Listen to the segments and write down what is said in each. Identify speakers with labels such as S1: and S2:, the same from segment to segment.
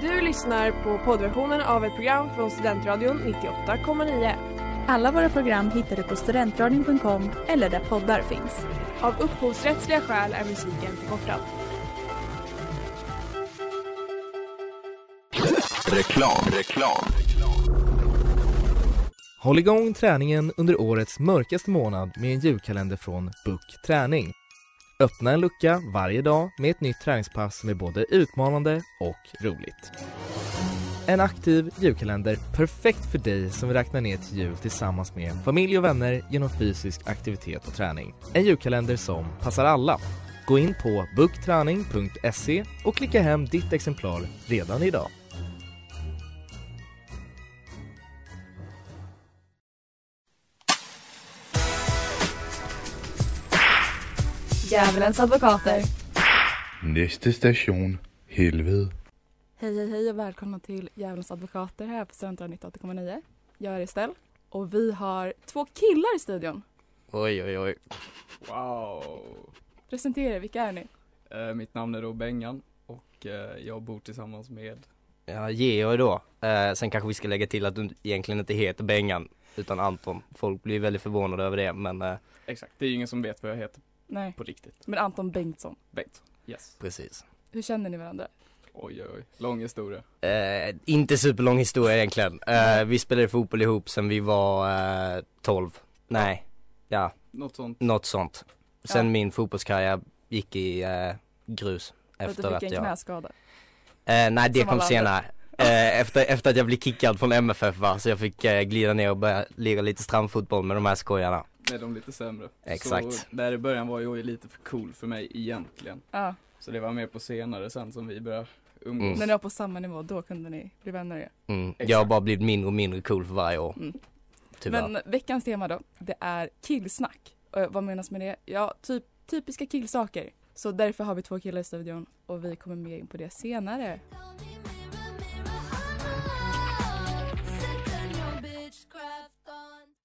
S1: Du lyssnar på poddversionen av ett program från Studentradion 98,9.
S2: Alla våra program hittar du på studentradion.com eller där poddar finns.
S1: Av upphovsrättsliga skäl är musiken förkortad.
S3: Reklam, reklam.
S4: Håll igång träningen under årets mörkaste månad med en julkalender från Book Träning. Öppna en lucka varje dag med ett nytt träningspass som är både utmanande och roligt. En aktiv julkalender perfekt för dig som vill räkna ner till jul tillsammans med familj och vänner genom fysisk aktivitet och träning. En julkalender som passar alla. Gå in på booktraning.se och klicka hem ditt exemplar redan idag.
S2: Djävulens advokater.
S5: Næste station, helvede.
S6: Hej, hej, hej och välkomna till Djävulens advokater här på Studentrad 98,9. Jag är Estelle och vi har två killar i studion.
S7: Oj, oj, oj.
S8: Wow!
S6: Presentera er, vilka är ni?
S8: Eh, mitt namn är då Bengan och eh, jag bor tillsammans med
S7: Ja, Georg då. Eh, sen kanske vi ska lägga till att du egentligen inte heter Bengan, utan Anton. Folk blir väldigt förvånade över det, men eh,
S8: Exakt, det är ju ingen som vet vad jag heter
S6: Nej,
S8: på riktigt.
S6: men Anton Bengtsson.
S8: Bengt. Yes.
S7: precis.
S6: Hur känner ni varandra?
S8: Oj, oj, oj. Lång historia.
S7: Eh, inte superlång historia egentligen. Eh, vi spelade fotboll ihop sen vi var eh, 12. Nej, ja,
S8: Något sånt.
S7: något sånt. Sen
S6: Ja.
S7: min fotbollskarriär gick i eh, grus. Efter
S6: att
S7: att,
S6: du fick en
S7: jag...
S6: knäskada.
S7: Eh, nej, det kom
S6: Som alla andra.
S7: senare. Eh, efter, efter att jag blev kickad från MFF va, så jag fick eh, glida ner och börja lira lite strandfotboll med de här skojarna.
S8: Med de lite sämre. Så
S7: Exakt.
S8: där i början var jag ju lite för cool för mig egentligen.
S6: Ja,
S8: Så det var mer på senare sen som vi började umgås.
S7: Mm.
S6: när ni var på samma nivå, då kunde ni bli vänner igen.
S7: Mm.
S8: Exakt.
S7: Jag har bara blivit mindre och mindre cool för varje år.
S6: Mm.
S7: Tyvärr.
S6: Men veckans tema då, det är killsnack. Och eh, vad menas med det? Ja, typ, typiska killsaker. Så därför har vi två killar i studion och vi kommer mer in på det senare.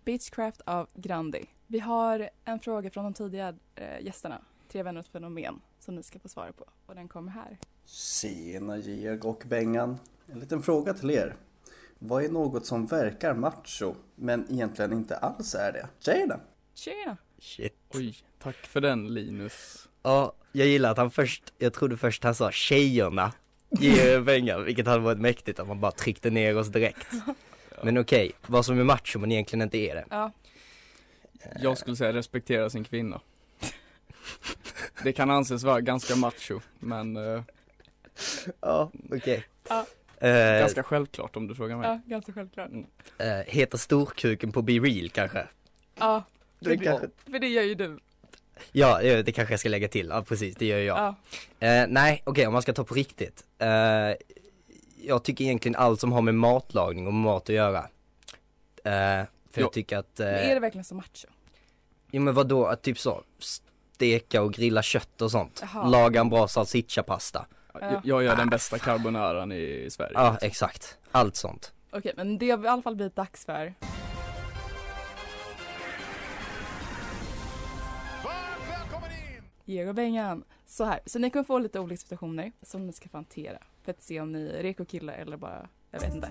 S6: Beachcraft av Grandi. Vi har en fråga från de tidigare eh, gästerna, Tre vänner och ett fenomen, som ni ska få svara på. Och den kommer här.
S9: Tjena Georg och Bengan! En liten fråga till er. Vad är något som verkar macho, men egentligen inte alls är det? Tjejerna!
S6: Tjena!
S7: Shit.
S8: Oj, tack för den Linus.
S7: Ja, jag gillar att han först, jag trodde först han sa tjejerna ger pengar, vilket hade varit mäktigt att man bara tryckte ner oss direkt. Men okej, vad som är macho men egentligen inte är det.
S6: Ja,
S8: Jag skulle säga respektera sin kvinna. Det kan anses vara ganska macho, men eh,
S7: Ja, okej.
S6: Ja.
S7: Eh,
S8: ganska självklart om du frågar mig.
S6: ja ganska självklart.
S7: eh, heter storkuken på Be Real kanske?
S6: Ja,
S7: Det kanske...
S6: för det gör ju du.
S7: Ja, eh, det kanske jag ska lägga till. Ja, precis, det gör jag.
S6: Ja.
S7: Eh, nej, okej om man ska ta på riktigt. Eh, jag tycker egentligen allt som har med matlagning och mat att göra. Eh, för
S8: Ja.
S7: jag tycker att, eh,
S6: Men Är det verkligen så macho?
S7: ja men vadå, att typ så, steka och grilla kött och sånt.
S6: Jaha.
S7: Laga en bra salsichapasta.
S8: Jag, jag gör den bästa carbonaran i, i Sverige.
S7: Ja, exakt. Allt sånt.
S6: Okej, men det har i alla fall blivit dags för. Georg och Bengan. Så här, så ni kommer få lite olika situationer som ni ska få hantera för att se om ni är reko killar eller bara, jag vet inte.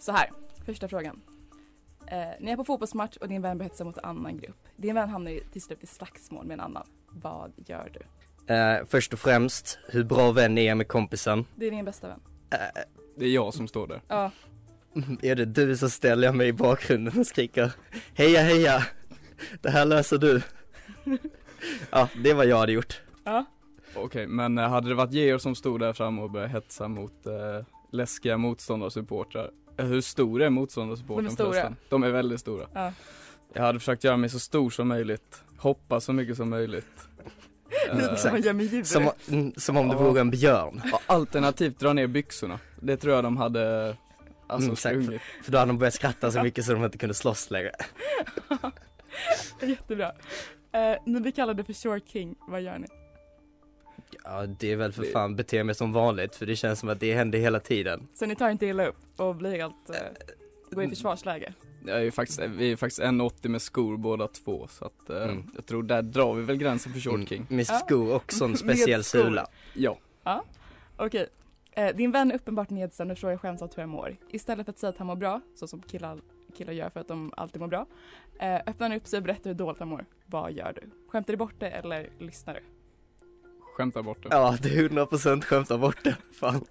S6: Så här, första frågan. Eh, ni är på fotbollsmatch och din vän börjar hetsa mot en annan grupp. Din vän hamnar ju till slut i slagsmål med en annan. Vad gör du?
S7: Eh, först och främst, hur bra vän är jag med kompisen? Eh,
S6: Det är din bästa vän.
S8: Det är jag som står där.
S6: Ja,
S7: Är det du så ställer jag mig i bakgrunden och skriker Heja heja! Det här löser du! ja, det var jag hade gjort.
S6: ja.
S8: Okej, men eh, hade det varit Georg som stod där framme och började hetsa mot eh, läskiga motståndarsupportrar? Eh, hur stora är motståndarsupportrarna
S6: De är stora.
S8: förresten? De är väldigt stora.
S6: Ja.
S8: Jag hade försökt göra mig så stor som möjligt, hoppa så mycket som möjligt.
S6: Lite som
S8: Eh,
S6: en gömmer
S7: Som, mm, som om det vore en björn.
S8: alternativt dra ner byxorna. Det tror jag de hade alltså
S7: Mm, exakt.
S8: sprungit.
S7: För då hade de börjat skratta så mycket så de inte kunde slåss längre.
S6: Jättebra. Eh, ni blir kallade för Short King, vad gör ni?
S7: Ja, det är väl för fan bete mig som vanligt för det känns som att det händer hela tiden.
S6: Så ni tar inte illa upp och blir helt, eh, går i försvarsläge?
S8: Jag är ju faktiskt, vi är faktiskt 1,80 med skor båda två så att eh,
S7: Mm.
S8: jag tror där drar vi väl gränsen för short king.
S7: Mm, Med
S6: Ja.
S7: skor också en
S6: Med
S7: speciell
S6: skor.
S7: sula.
S8: Ja,
S6: Okej, Eh, din vän är uppenbart nedstämd och frågar skämtsamt hur jag mår. Istället för att säga att han mår bra, så som killar, killar gör för att de alltid mår bra, eh, öppnar han upp sig och berättar hur dåligt han mår. Vad gör du? Skämtar du bort det eller lyssnar du?
S8: Skämta bort det.
S7: Ja, det är 100% skämta bort det. Fan.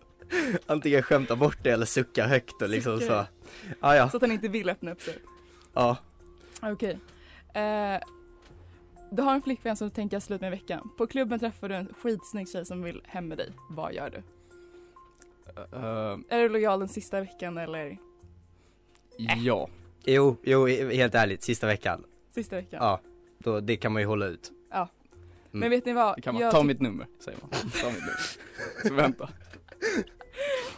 S7: Antingen skämta bort det eller sucka högt och liksom
S6: Suckar.
S7: så. Ja, ja.
S6: Så att han inte vill öppna upp sig.
S7: ja.
S6: Okej. Eh, du har en flickvän som du tänker göra slut med i veckan. På klubben träffar du en skitsnygg tjej som vill hem med dig. Vad gör du?
S8: Eh,
S6: Är du lojal den sista veckan eller Äh.
S8: ja.
S7: Jo, jo, i- helt ärligt, sista veckan.
S6: sista veckan?
S7: Ja. Då, det kan man ju hålla ut.
S6: Men vet ni vad?
S8: Det kan man.
S6: Jag
S8: Ta
S6: tyck-
S8: mitt nummer, säger man. Ta mitt nummer. Så vänta.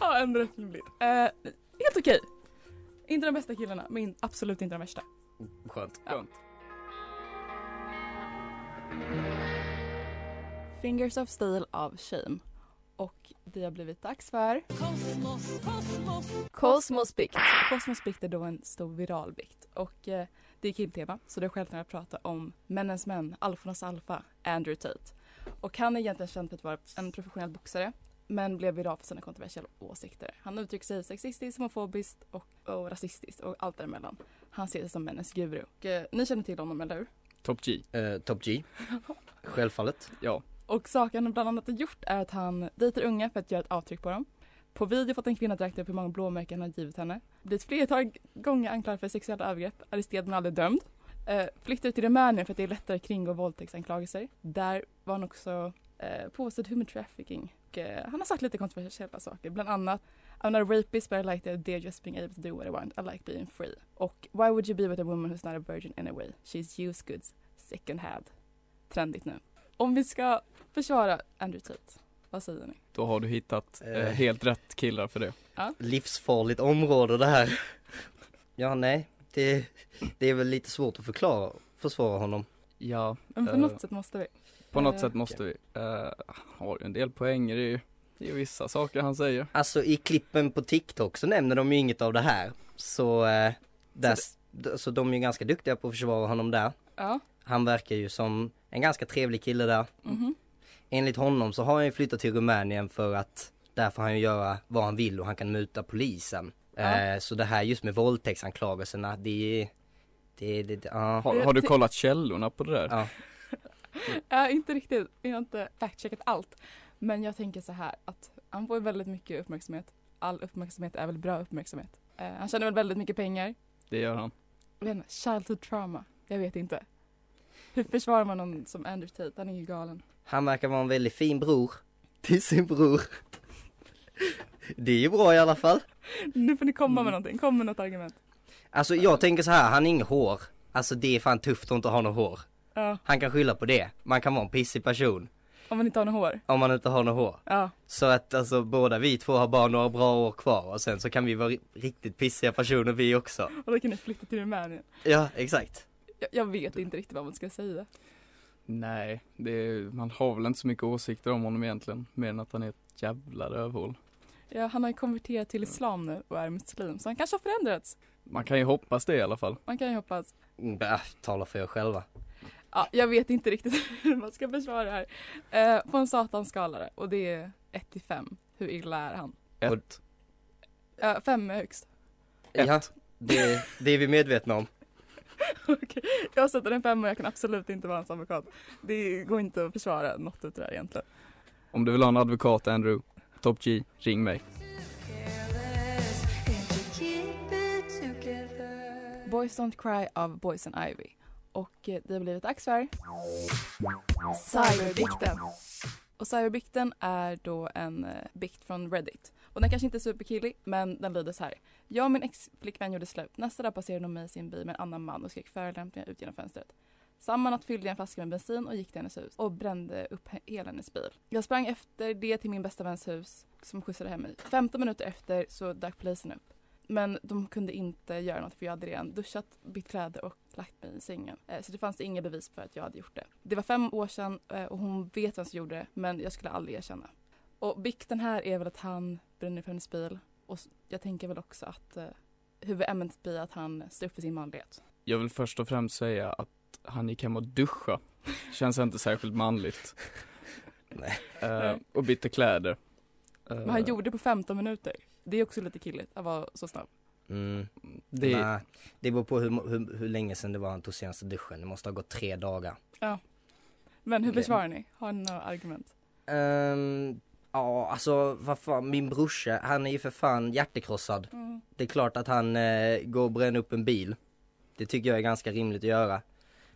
S6: Ja, en rättning eh, Helt okej. Inte de bästa killarna, men absolut inte de värsta.
S7: Skönt.
S6: Ja. Fingers of Steel av Shame. Och det har blivit dags för Kosmosbikt. Kosmosbikt är då en stor viral bikt. Och eh, det är killtema, så det är självklart att prata om männens män, alfarnas alfa, Andrew Tate. Och han är egentligen känd för att vara en professionell boxare, men blev viral för sina kontroversiella åsikter. Han uttrycker sig sexistiskt, homofobiskt och, och rasistiskt och allt däremellan. Han ser sig som männens guru. Och, eh, ni känner till honom, eller hur?
S8: Top G.
S7: Eh, Top G. Självfallet.
S8: Ja.
S6: Och saken han bland annat har gjort är att han dejtar unga för att göra ett avtryck på dem. På video fått en kvinna att räkna upp hur många blåmärken han har givit henne. Blivit flertal gånger anklagad för sexuella övergrepp, arresterad men aldrig dömd. Eh, flyttade till Rumänien för att det är lättare att kringgå våldtäktsanklagelser. Där var han också eh, påstådd human trafficking. Och, eh, han har sagt lite kontroversiella saker, bland annat I'm not a rapist but I like the idea of just being able to do what I want. I like being free. Och Why would you be with a woman who's not a virgin anyway? She's used goods second hand. Trendigt nu. Om vi ska försvara Andrew Tate, vad säger ni?
S8: Då har du hittat eh,
S7: Eh.
S8: helt rätt killar för det.
S7: Livsfarligt område det här. Ja, nej. Det, det är väl lite svårt att förklara, försvara honom.
S8: Ja.
S6: Men på
S8: Eh,
S6: något sätt måste vi.
S8: På något
S6: Eh,
S8: sätt måste vi. Eh, han har ju en del poänger i, i vissa saker han säger.
S7: Alltså i klippen på TikTok så nämner de ju inget av det här. Så, eh, där, så, så de är ju ganska duktiga på att försvara honom där.
S6: Ja.
S7: Han verkar ju som en ganska trevlig kille där.
S8: Mm-hmm.
S6: mhm.
S7: Enligt honom så har han ju flyttat till Rumänien för att där får han ju göra vad han vill och han kan muta polisen. Eh, så det här just med våldtäktsanklagelserna, det är, det, det, det ja.
S8: Har, har du kollat källorna på det där?
S7: Ja.
S6: Ja, Äh, inte riktigt. Vi har inte fact-checkat allt. Men jag tänker så här att han får väldigt mycket uppmärksamhet. All uppmärksamhet är väl bra uppmärksamhet. Eh, han tjänar väl väldigt mycket pengar.
S8: Det gör han.
S6: Jag vet inte, childhood trauma. Jag vet inte. Hur försvarar man någon som Andrew Tate? Han är ju galen.
S7: Han verkar vara en väldigt fin bror till sin bror. Det är ju bra i alla fall.
S6: Nu får ni komma med någonting. Kom med något argument.
S7: Alltså jag tänker så här, han har inget hår. Alltså det är fan tufft att inte ha något hår.
S6: Ja,
S7: Han kan skylla på det. Man kan vara en pissig person
S6: om man inte har något hår.
S7: om man inte har något hår.
S6: Ja,
S7: Så att alltså båda vi två har bara några bra år kvar och sen så kan vi vara ri- riktigt pissiga personer vi också.
S6: och då kan ni flytta till Rumänien.
S7: Ja, exakt.
S6: Jag, jag vet inte riktigt vad man ska säga.
S8: Nej, det är, man har väl inte så mycket åsikter om honom egentligen. Mer än att han är ett jävla rövhål.
S6: Ja, han har ju konverterat till islam nu och är muslim, så han kanske har förändrats.
S8: Man kan ju hoppas det i alla fall.
S6: Man kan ju hoppas.
S7: Mm, Bah, tala för er själva.
S6: Ja, jag vet inte riktigt hur man ska försvara det här. Eh, på en satanskala och det är 1 till 5. Hur illa är han?
S8: Ett.
S6: Eh, 5 är högst.
S8: Ett.
S7: Ja, det, det är vi medvetna om.
S6: Okej, Jag sätter en 5 och jag kan absolut inte vara hans advokat. Det går inte att försvara något utav det här egentligen.
S8: Om du vill ha en advokat Andrew, Top G, ring mig.
S6: Boys Don't Cry av Boys and Ivy. Och eh, det har blivit dags för Cyberbikten. Och Cyberbikten är då en eh, bikt från Reddit. Och den kanske inte är superkillig, men den lyder så här. Jag och min ex-flickvän gjorde slut. Nästa dag passerade hon mig i sin bil med en annan man och skrek förolämpningar ut genom fönstret. Samma natt fyllde jag en flaska med bensin och gick till hennes hus och brände upp he- hela hennes bil. Jag sprang efter det till min bästa väns hus som skjutsade hem mig. 15 minuter efter så dök polisen upp. Men de kunde inte göra något för jag hade redan duschat, bytt kläder och lagt mig i sängen. Eh, Så det fanns inga bevis för att jag hade gjort det. Det var fem år sedan eh, och hon vet vem som gjorde det men jag skulle aldrig erkänna. Och bikten här är väl att han bränner upp hennes bil och s- jag tänker väl också att eh, huvudämnet blir att han står upp för sin manlighet.
S8: Jag vill först och främst säga att han gick hem och duscha. Känns inte särskilt manligt.
S7: Nej.
S8: Eh,
S6: Nej.
S8: och bytte kläder. Eh,
S6: Men han gjorde det på 15 minuter. Det är också lite killigt att vara så snabb.
S7: Mm,
S8: Det är,
S7: nej. det beror på hur, hur, hur länge sedan det var han tog senaste duschen, det måste ha gått tre dagar.
S6: Men hur
S7: Okej.
S6: försvarar ni? Har ni några argument?
S7: Ehm, ja alltså vad fan, min brorsa, han är ju för fan hjärtekrossad.
S6: Mm.
S7: Det är klart att han eh, går och bränner upp en bil. Det tycker jag är ganska rimligt att göra.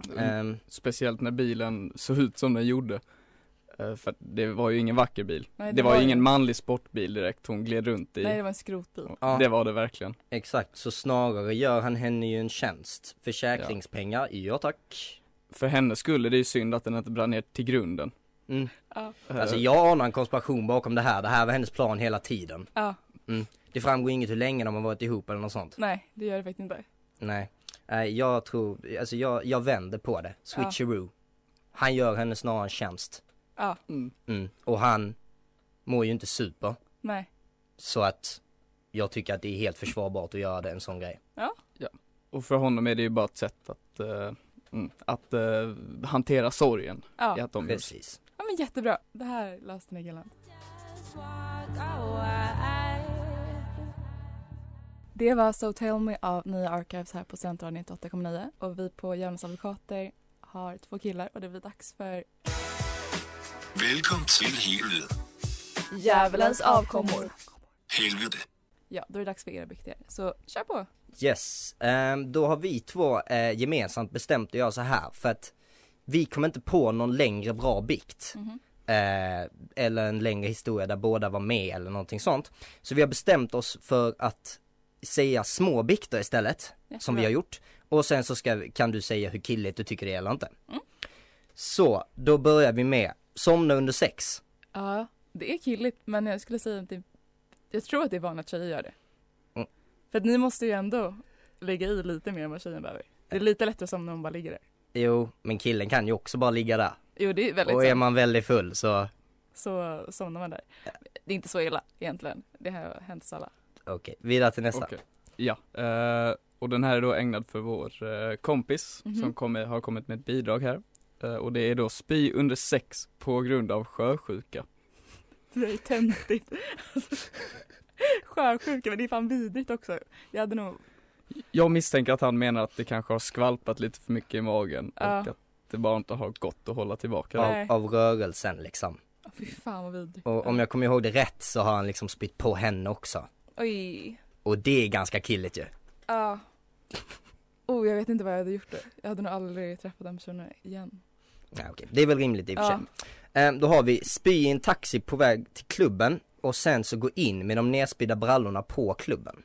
S8: Mm.
S7: Ehm,
S8: speciellt när bilen såg ut som den gjorde. Eh, För att det var ju ingen vacker bil.
S6: Nej,
S8: det, var ju ingen manlig sportbil direkt hon gled runt i.
S6: Nej, det var en skrotbil.
S7: Ja.
S8: Det var det verkligen.
S7: exakt, så snarare gör han henne ju en tjänst. Försäkringspengar, ja, tack.
S8: För henne skulle det är ju synd att den inte brann ner till grunden.
S7: Mm.
S6: Ja.
S8: Eh,
S7: Alltså jag anar en konspiration bakom det här, det här var hennes plan hela tiden.
S6: ja.
S7: Det framgår inget hur länge de har varit ihop eller något sånt.
S6: Nej, det gör det faktiskt inte.
S7: Nej, Nej, jag tror, alltså jag, jag vänder på det. Switcheroo. Han gör henne snarare en tjänst.
S6: Ja.
S8: Mm.
S7: Mm. Och han mår ju inte super.
S6: Nej.
S7: Så att jag tycker att det är helt försvarbart att göra det, en sån grej.
S8: Och för honom är det ju bara ett sätt att, eh, mm, att eh, hantera sorgen
S6: Ja.
S8: i
S6: ja.
S8: att de gjorde.
S7: Precis.
S6: men jättebra. Det här löste ni galant. Det var So Tell Me av Nya Archives här på Studentradion 98,9 och vi på Djävulens advokater har två killar och det blir dags för
S3: Velkommen til helvede.
S6: Djävulens avkommor.
S3: Helvede.
S6: Ja, då är det dags för era bikter. Så kör på!
S7: Yes, Ehm, då har vi två eh, gemensamt bestämt att göra så här för att vi kommer inte på någon längre bra bikt.
S6: Mhm.
S7: eh, eller en längre historia där båda var med eller någonting sånt. Så vi har bestämt oss för att säga små bikter istället, som vi har gjort. Och sen så ska, kan du säga hur killigt du tycker det är eller inte.
S6: Mm.
S7: Så, då börjar vi med Somna under sex.
S6: Ja, det är killigt men jag skulle säga att det, jag tror att det är vanligt att tjejer gör det.
S7: Mm.
S6: För att ni måste ju ändå lägga i lite mer än vad tjejen behöver. Det är lite lättare som när hon bara ligger där.
S7: Jo, men killen kan ju också bara ligga där.
S6: Jo, det är väldigt
S7: Och är
S6: sant.
S7: man väldigt full så,
S6: Så somnar man där. Det är inte så illa egentligen. Det här har hänt oss alla.
S7: okej, vidare till nästa.
S8: Okej. Ja, eh, och den här är då ägnad för vår eh, kompis
S6: Mhm.
S8: som kommer, har kommit med ett bidrag här. Eh, och det är då spy under sex på grund av sjösjuka.
S6: Det är töntigt. Alltså, Sjösjuka, men det är fan vidrigt också. Jag hade nog,
S8: Jag misstänker att han menar att det kanske har skvalpat lite för mycket i magen
S6: Ja.
S8: och att det bara inte har gått att hålla tillbaka det.
S6: Nej.
S7: Av, av rörelsen liksom.
S6: Åh, fy fan vad vidrigt.
S7: Och om jag kommer ihåg det rätt så har han liksom spytt på henne också.
S6: Oj.
S7: Och det är ganska killigt ju.
S6: Ja. Oh, jag vet inte vad jag hade gjort då. Jag hade nog aldrig träffat den personen igen.
S7: Ja, okej. Det är väl rimligt i och för sig.
S6: Ja.
S7: Ehm, Då har vi spy i en taxi på väg till klubben och sen så gå in med de nerspydda brallorna på klubben.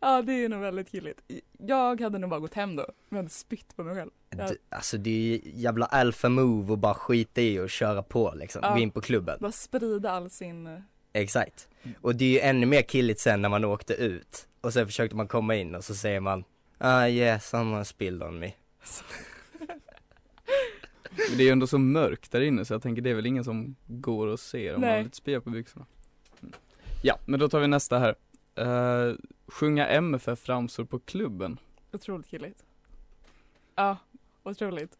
S6: ja, det är nog väldigt killigt. Jag hade nog bara gått hem då. Men jag hade spytt på mig själv. Ja.
S7: D- alltså det är ju jävla alpha move och bara skita i och köra på liksom,
S6: Ja.
S7: gå in på klubben.
S6: Bara sprida all sin... eh,
S7: Exakt. Och det är ju ännu mer killigt sen när man åkte ut och sen försökte man komma in och så säger man Ah yes, someone spilled on me.
S8: Men det är ju ändå så mörkt där inne så jag tänker det är väl ingen som går och ser om man har
S6: Nej.
S8: lite spya på byxorna. Mm. Ja, men då tar vi nästa här. Eh, sjunga MFF-ramsor på klubben.
S6: Otroligt killigt. Ja, otroligt.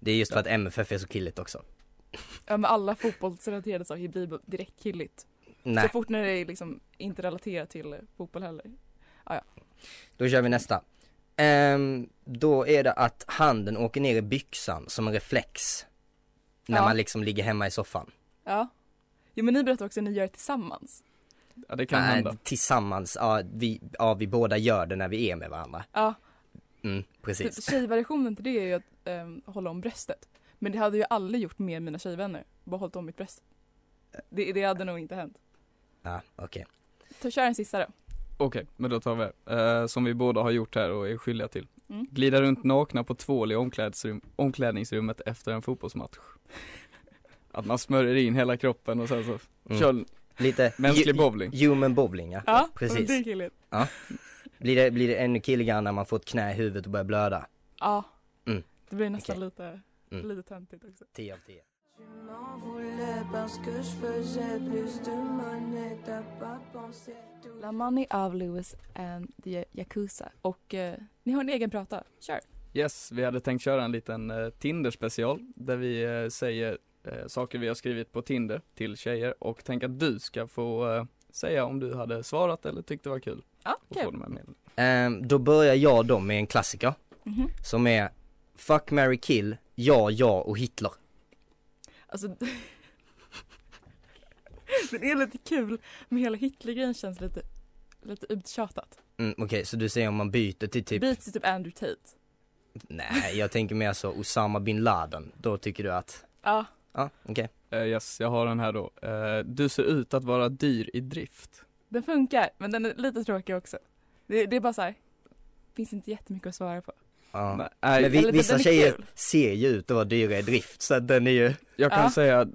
S7: Det är just för att MFF är så killigt också.
S6: Ja, men alla fotbollsrelaterade saker blir direkt killigt. Så
S7: Nej,
S6: fort när det är liksom inte relaterat till eh, fotboll heller.
S7: då kör vi nästa. Ehm, då är det att handen åker ner i byxan som en reflex. När
S6: Ja.
S7: man liksom ligger hemma i soffan.
S6: Ja. Jo men ni berättade också att ni gör det tillsammans.
S8: Ja, det kan
S7: Nej,
S8: hända.
S7: Äh, Tillsammans, ja vi, ja vi båda gör det när vi är med varandra.
S6: Ja,
S7: Mm,
S6: typ
S7: precis.
S6: tjejversionen till det är ju att ehm, hålla om bröstet. Men det hade ju aldrig gjort med mina tjejvänner. Bara hållit om mitt bröst. Det, det hade nog inte hänt.
S7: Ja, okej.
S6: Ta kör en sista då.
S8: Okej, men då tar vi här. Eh, som vi båda har gjort här och är skyldiga till.
S6: Mm.
S8: Glida runt nakna på tvål i omklädningsrum, omklädningsrummet efter en fotbollsmatch. Att man smörjer in hela kroppen och sen så
S7: Mm.
S8: kör
S7: Lite
S8: mänsklig
S7: ju-
S8: bowling.
S7: human bowling ja.
S6: Ja,
S7: Precis.
S6: Det är killigt.
S7: Blir det, blir det ännu killigare när man får ett knä i huvudet och börjar blöda?
S6: Ja.
S7: Mm.
S6: Det blir nästan
S7: Okej.
S6: lite,
S7: Mm.
S6: lite töntigt också.
S7: 10 av 10.
S6: La Money av Lewis and the Ehm, Yakuza. Och eh, ni har en egen prata. Kör.
S8: Yes, vi hade tänkt köra en liten eh, Tinder special där vi eh, säger eh, saker vi har skrivit på Tinder till tjejer och tänk att du ska få eh, säga om du hade svarat eller tyckte det var kul
S6: Ja,
S8: att få
S6: kul.
S8: de här medlen.
S7: Ehm, då börjar jag då med en klassiker
S6: Mhm.
S7: som är Fuck, Mary kill, ja, ja och Hitler.
S6: Alltså, det är lite kul, men hela Hitlergrejen känns lite, lite uttjatat.
S7: Mm, Okej, så du säger om man byter till typ,
S6: Byt till typ Andrew Tate.
S7: nej jag tänker mer så Osama bin Laden, då tycker du att,
S6: Ja,
S7: ja okej.
S8: Eh, yes, jag har den här då. Eh, du ser ut att vara dyr i drift.
S6: den funkar, men den är lite tråkig också. Det, det är bara så här. finns inte jättemycket att svara på.
S7: Ja.
S8: Nej,
S7: Men vi,
S6: Eller,
S7: vissa
S6: den är
S7: tjejer
S6: kul.
S7: ser ju ut att vara dyra i drift så att den är ju,
S8: Jag kan
S6: Ja.
S8: säga, eh,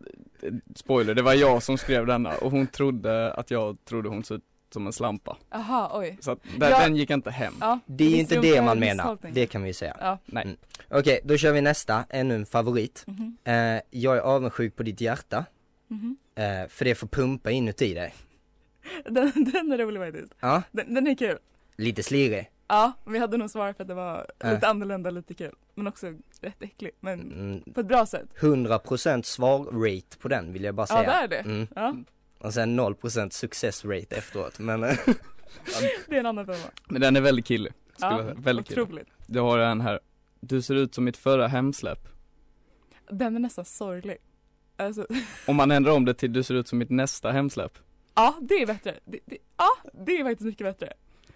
S8: spoiler, det var jag som skrev denna och hon trodde att jag trodde hon såg ut som en slampa.
S6: Aha, oj.
S8: Så att den,
S6: Ja.
S8: den gick inte hem.
S6: Ja,
S7: det är ju
S6: visst
S7: inte
S6: hon
S7: det
S6: för
S7: man menar,
S6: misshållning?
S7: det kan vi ju säga.
S6: Ja.
S8: Nej.
S7: Mm. Okej, då kör vi nästa, ännu en favorit.
S6: Mhm.
S7: Eh, jag är avundsjuk på ditt hjärta,
S6: Mhm.
S7: eh, för det får pumpa inuti dig.
S6: Den, den är rolig faktiskt.
S7: Ja,
S6: Den, den är kul.
S7: lite slirig.
S6: Ja, vi hade nog svarat för att det var
S7: Äh.
S6: lite annorlunda, lite kul. Men också rätt äcklig, men
S7: Mm,
S6: på ett bra sätt.
S7: 100% svar-rate på den vill jag bara
S6: Ja,
S7: säga.
S6: det är det.
S7: Mm.
S6: Ja,
S7: Och sen 0% success-rate efteråt, men eh,
S6: det är en annan femma.
S8: Men den är väldigt killig. Skulle jag
S6: Ja,
S8: säga. Väldigt killig.
S6: otroligt.
S8: Jag har en här. Du ser ut som mitt förra hemsläpp.
S6: Den är nästan sorglig. Alltså,
S8: Om man ändrar om det till du ser ut som mitt nästa hemsläpp.
S6: ja, det är bättre. Det, det, ja, det är faktiskt mycket bättre.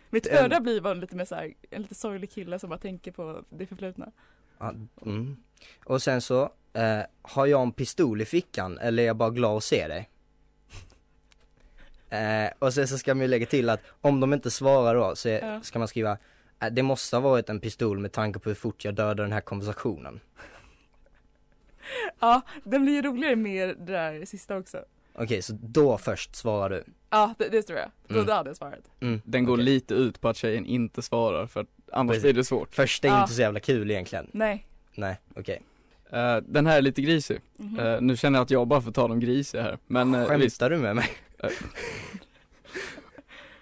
S6: Mitt
S7: Den-
S6: förra blir bara lite mer så här, en lite sorglig kille som bara tänker på det förflutna.
S7: ja, mm. Och sen så, eh, har jag en pistol i fickan eller är jag bara glad att se dig? Eh, och sen så ska man ju lägga till att om de inte svarar då så är,
S6: Ja.
S7: ska man skriva eh, det måste ha varit en pistol med tanke på hur fort jag dödade den här konversationen.
S6: Ja, den blir ju roligare med det där sista också.
S7: Okej, så då först svarar du.
S6: Ja, det, det tror jag. Då,
S7: Mm.
S6: då hade jag svarat.
S7: Mm,
S8: Den går
S7: okej.
S8: lite ut på att tjejen inte svarar för att annars
S7: Precis.
S8: blir det svårt.
S7: Första är ju
S6: Ja.
S7: inte så jävla kul egentligen.
S6: Nej.
S7: Nej, okej.
S8: Eh, den här är lite grisig.
S6: Mhm.
S8: Eh, nu känner jag att jag bara får ta de grisiga här. Men uh, visst,
S7: Skämtar du med mig?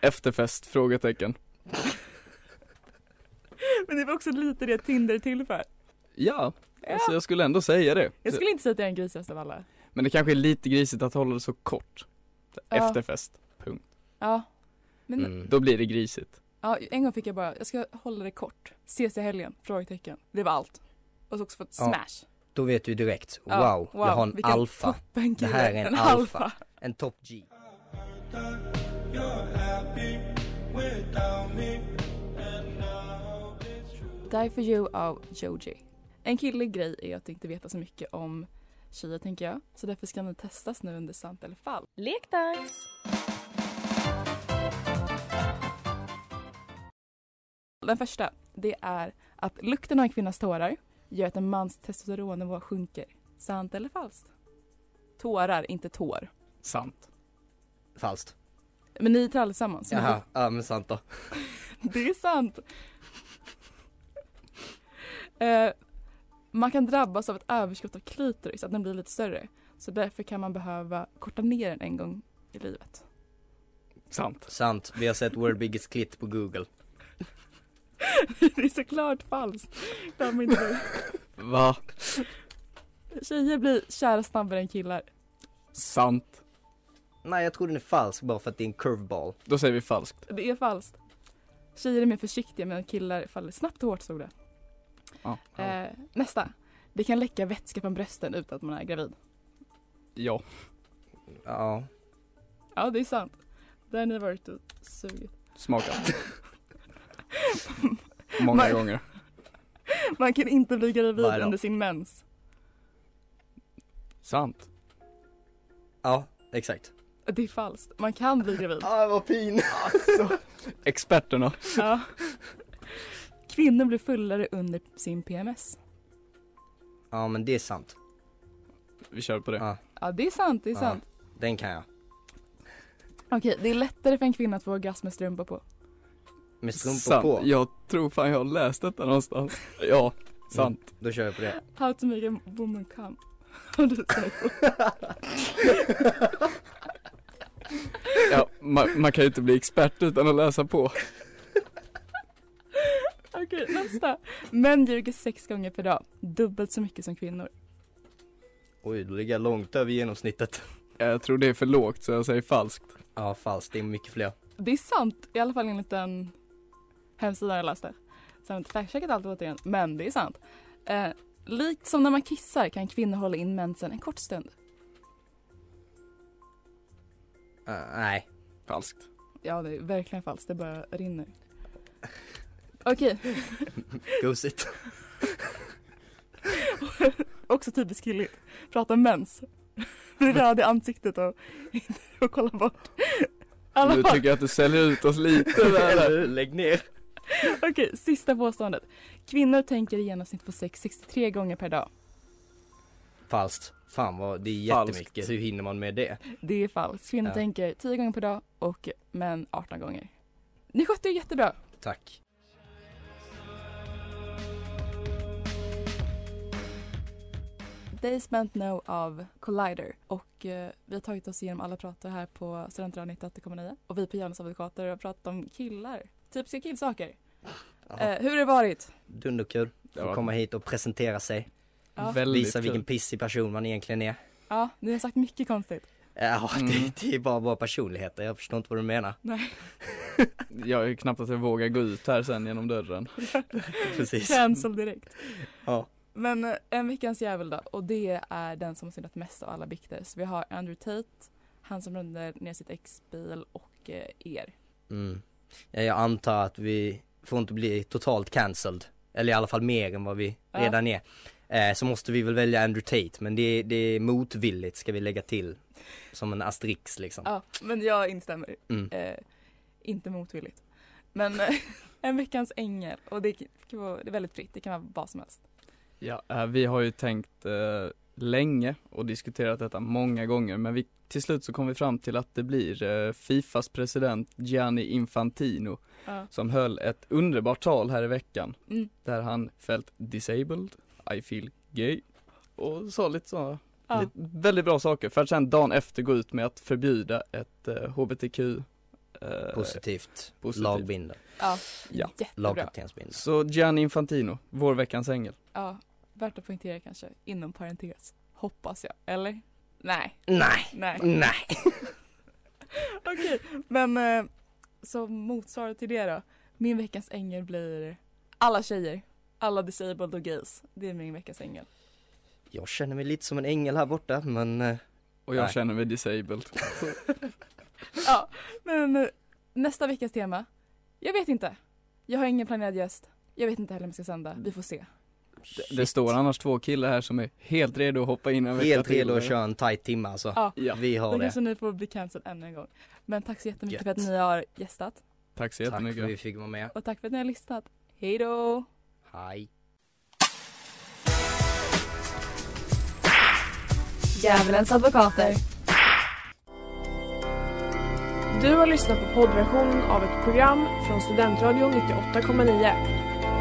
S8: efterfest? Frågetecken.
S6: Men det var också lite det Tinder är till för.
S8: Ja,
S6: Ja.
S8: Alltså, jag skulle ändå säga det.
S6: Jag skulle inte säga att jag är den grisigaste av alla.
S8: Men det kanske är lite grisigt att hålla det så kort.
S6: Ja.
S8: Efterfest.
S6: Ja. Men
S7: Mm.
S8: Då blir det grisigt.
S6: Ja, en gång fick jag bara, jag ska hålla det kort. Ses i helgen? Frågetecken. Det var allt. Och så också fått
S7: Ja.
S6: smash.
S7: Då vet du direkt, wow,
S6: Ja,
S7: jag har en
S6: vilken
S7: alfa,
S6: toppenkille.
S7: Det här är en alfa. en top G.
S6: Die for you av Joji. En killig grej är att inte veta så mycket om tjejer tänker jag. Så därför ska ni testas nu under sant eller falskt.
S10: Lekdags!
S6: Den första, det är att lukten av en kvinnas tårar gör att en mans testosteronnivå sjunker. Sant eller falskt? Tårar, inte tår.
S8: Sant.
S7: Falskt.
S6: Men ni är tillsammans.
S7: Jaha, ja men sant då.
S6: Det är sant. Eh, man kan drabbas av ett överskott av klitoris, att den blir lite större. Så därför kan man behöva korta ner den en gång i livet.
S8: Sant.
S7: Sant, vi har sett World Biggest Clit på google.
S6: det är såklart falskt. Glöm inte det.
S8: Va?
S6: Tjejer blir kära snabbare än killar.
S8: Sant.
S7: Nej jag tror den är falsk bara för att det är en curveball.
S8: Då säger vi falskt.
S6: Det är falskt. Tjejer är mer försiktiga medan killar faller snabbt och hårt stod det.
S8: Ja.
S6: Eh, nästa. Det kan läcka vätska från brösten utan att man är gravid.
S8: Ja.
S7: Ja,
S6: Ja, det är sant. Där har ni varit och sugit.
S8: Smakat. Många
S6: Man-
S8: gånger.
S6: Man kan inte bli gravid
S7: Varje dag.
S6: under sin mens.
S8: Sant.
S7: ja exakt.
S6: Det är falskt. Man kan bli gravid.
S7: Ah vad pin!
S8: Alltså. Experterna.
S6: Ja. Kvinnor blir fullare under sin PMS.
S7: Ja men det är sant.
S8: Vi kör på det.
S7: Ja.
S6: Ja, det är sant. Det är
S7: Ja.
S6: sant.
S7: Den kan jag.
S6: Okej, det är lättare för en kvinna att få orgasm med strumpor på.
S7: Med strumpor
S8: sant.
S7: på.
S8: Jag tror fan jag har läst detta någonstans. Ja, sant.
S7: Då kör jag på det.
S6: How to make a woman come. Har du tänkt på?
S8: Ja, man, man kan ju inte bli expert utan att läsa på.
S6: Okej, nästa. Män ljuger sex gånger per dag. Dubbelt så mycket som kvinnor.
S7: Oj, du ligger långt över genomsnittet.
S8: Jag tror det är för lågt så jag säger falskt.
S7: Ja, falskt. Det är mycket fler.
S6: Det är sant, i alla fall enligt den hemsidan jag läste. Sen har jag inte fact-checkat allt återigen, men det är sant. Eh, likt som när man kissar kan kvinnor hålla in mensen en kort stund.
S7: Ah, nej.
S8: Falskt.
S6: Ja, det är verkligen falskt. Det bara rinner. Okej,
S7: Gosigt.
S6: också typiskt killigt. Prata mens. Bli röd i ansiktet och, och kolla bort. I alla
S8: Nu
S6: fall.
S8: tycker jag att du säljer ut oss lite
S7: Eller
S8: där.
S7: hur? Lägg ner.
S6: Okej, sista påståendet. Kvinnor tänker i genomsnitt på sex 63 gånger per dag.
S7: Falskt. Fan vad, det är
S8: Falskt.
S7: jättemycket. Hur hinner man med det?
S6: Det är falskt. Kvinnor
S7: Ja.
S6: tänker 10 gånger per dag och män 18 gånger. Ni skötte er jättebra.
S7: Tack.
S6: Days Meant No av Collider och eh, vi har tagit oss igenom alla pratar här på Studentradion 98,9 och vi på Janus advokater har pratat om killar, typiska killsaker.
S7: Ja,
S6: Eh, hur har det varit?
S7: Dunderkul.
S8: Det
S7: Får
S8: var
S7: komma hit och presentera sig.
S6: Ja.
S8: Väldigt
S7: Visa
S8: kul.
S7: vilken pissig person man egentligen är.
S6: Ja, ni har sagt mycket konstigt.
S7: Ja,
S8: Mm.
S7: det, det är bara våra personligheter. Jag förstår inte vad du menar.
S8: Jag är knappt att jag vågar gå ut här sen genom dörren.
S7: Precis.
S6: Cancel direkt.
S7: Ja.
S6: Men eh, en veckans jävel då och det är den som har syndat mest av alla bikter. Så vi har Andrew Tate, han som brände ner sitt ex bil och eh, er.
S7: Mm. Ja, Jag antar att vi får inte bli totalt cancelled. Eller i alla fall mer än vad vi
S6: Ja.
S7: redan är. Eh, så måste vi väl välja Andrew Tate, men det, det är motvilligt ska vi lägga till. Som en asterix liksom.
S6: Ja, men jag instämmer.
S7: Mm.
S6: Eh, inte motvilligt. Men eh, en veckans ängel och det kan vara det är väldigt fritt, det kan vara vad som helst.
S8: Ja, eh, vi har ju tänkt eh, länge och diskuterat detta många gånger men vi, till slut så kom vi fram till att det blir eh, Fifas president Gianni Infantino
S6: Ja.
S8: som höll ett underbart tal här i veckan
S6: Mm.
S8: där han fällt disabled, I feel gay och sa lite så
S6: Ja.
S8: lite, väldigt bra saker för att sen dagen efter gå ut med att förbjuda ett eh, HBTQ eh,
S7: Positivt.
S8: positivt.
S7: Lagbinder.
S6: Ja,
S8: Ja.
S6: jättebra.
S7: Lagkaptensbinder.
S8: Så Gianni Infantino, vår veckans ängel.
S6: Ja, värt att poängtera kanske, inom parentes. Hoppas jag, eller? Nej,
S7: Nej,
S6: nej.
S7: nej.
S6: Okej, men eh, som motsvar till det då. Min veckans ängel blir alla tjejer. Alla disabled och gays. Det är min veckans ängel.
S7: Jag känner mig lite som en ängel här borta, men eh,
S8: Och jag
S7: Nej.
S8: känner mig disabled.
S6: Ja, men eh, nästa veckas tema. Jag vet inte. Jag har ingen planerad gäst. Jag vet inte heller om jag ska sända. Vi får se.
S8: Det, det står annars två killar här som är helt redo att hoppa in en vecka
S7: helt
S8: till.
S7: redo att köra en tight timme alltså.
S6: Ja,
S8: Ja,
S7: Vi har
S6: då
S7: det.
S6: kanske ni får bli cancelled ännu en gång. Men tack så jättemycket
S7: Gött.
S6: för att ni har gästat
S8: tack så
S7: Tack för att
S8: jättemycket.
S7: vi fick vara med.
S6: och tack för att ni har lyssnat. Hej då!
S7: Hej.
S2: Djävulens advokater.
S1: Du har lyssnat på poddversionen av ett program från Studentradion 98,9.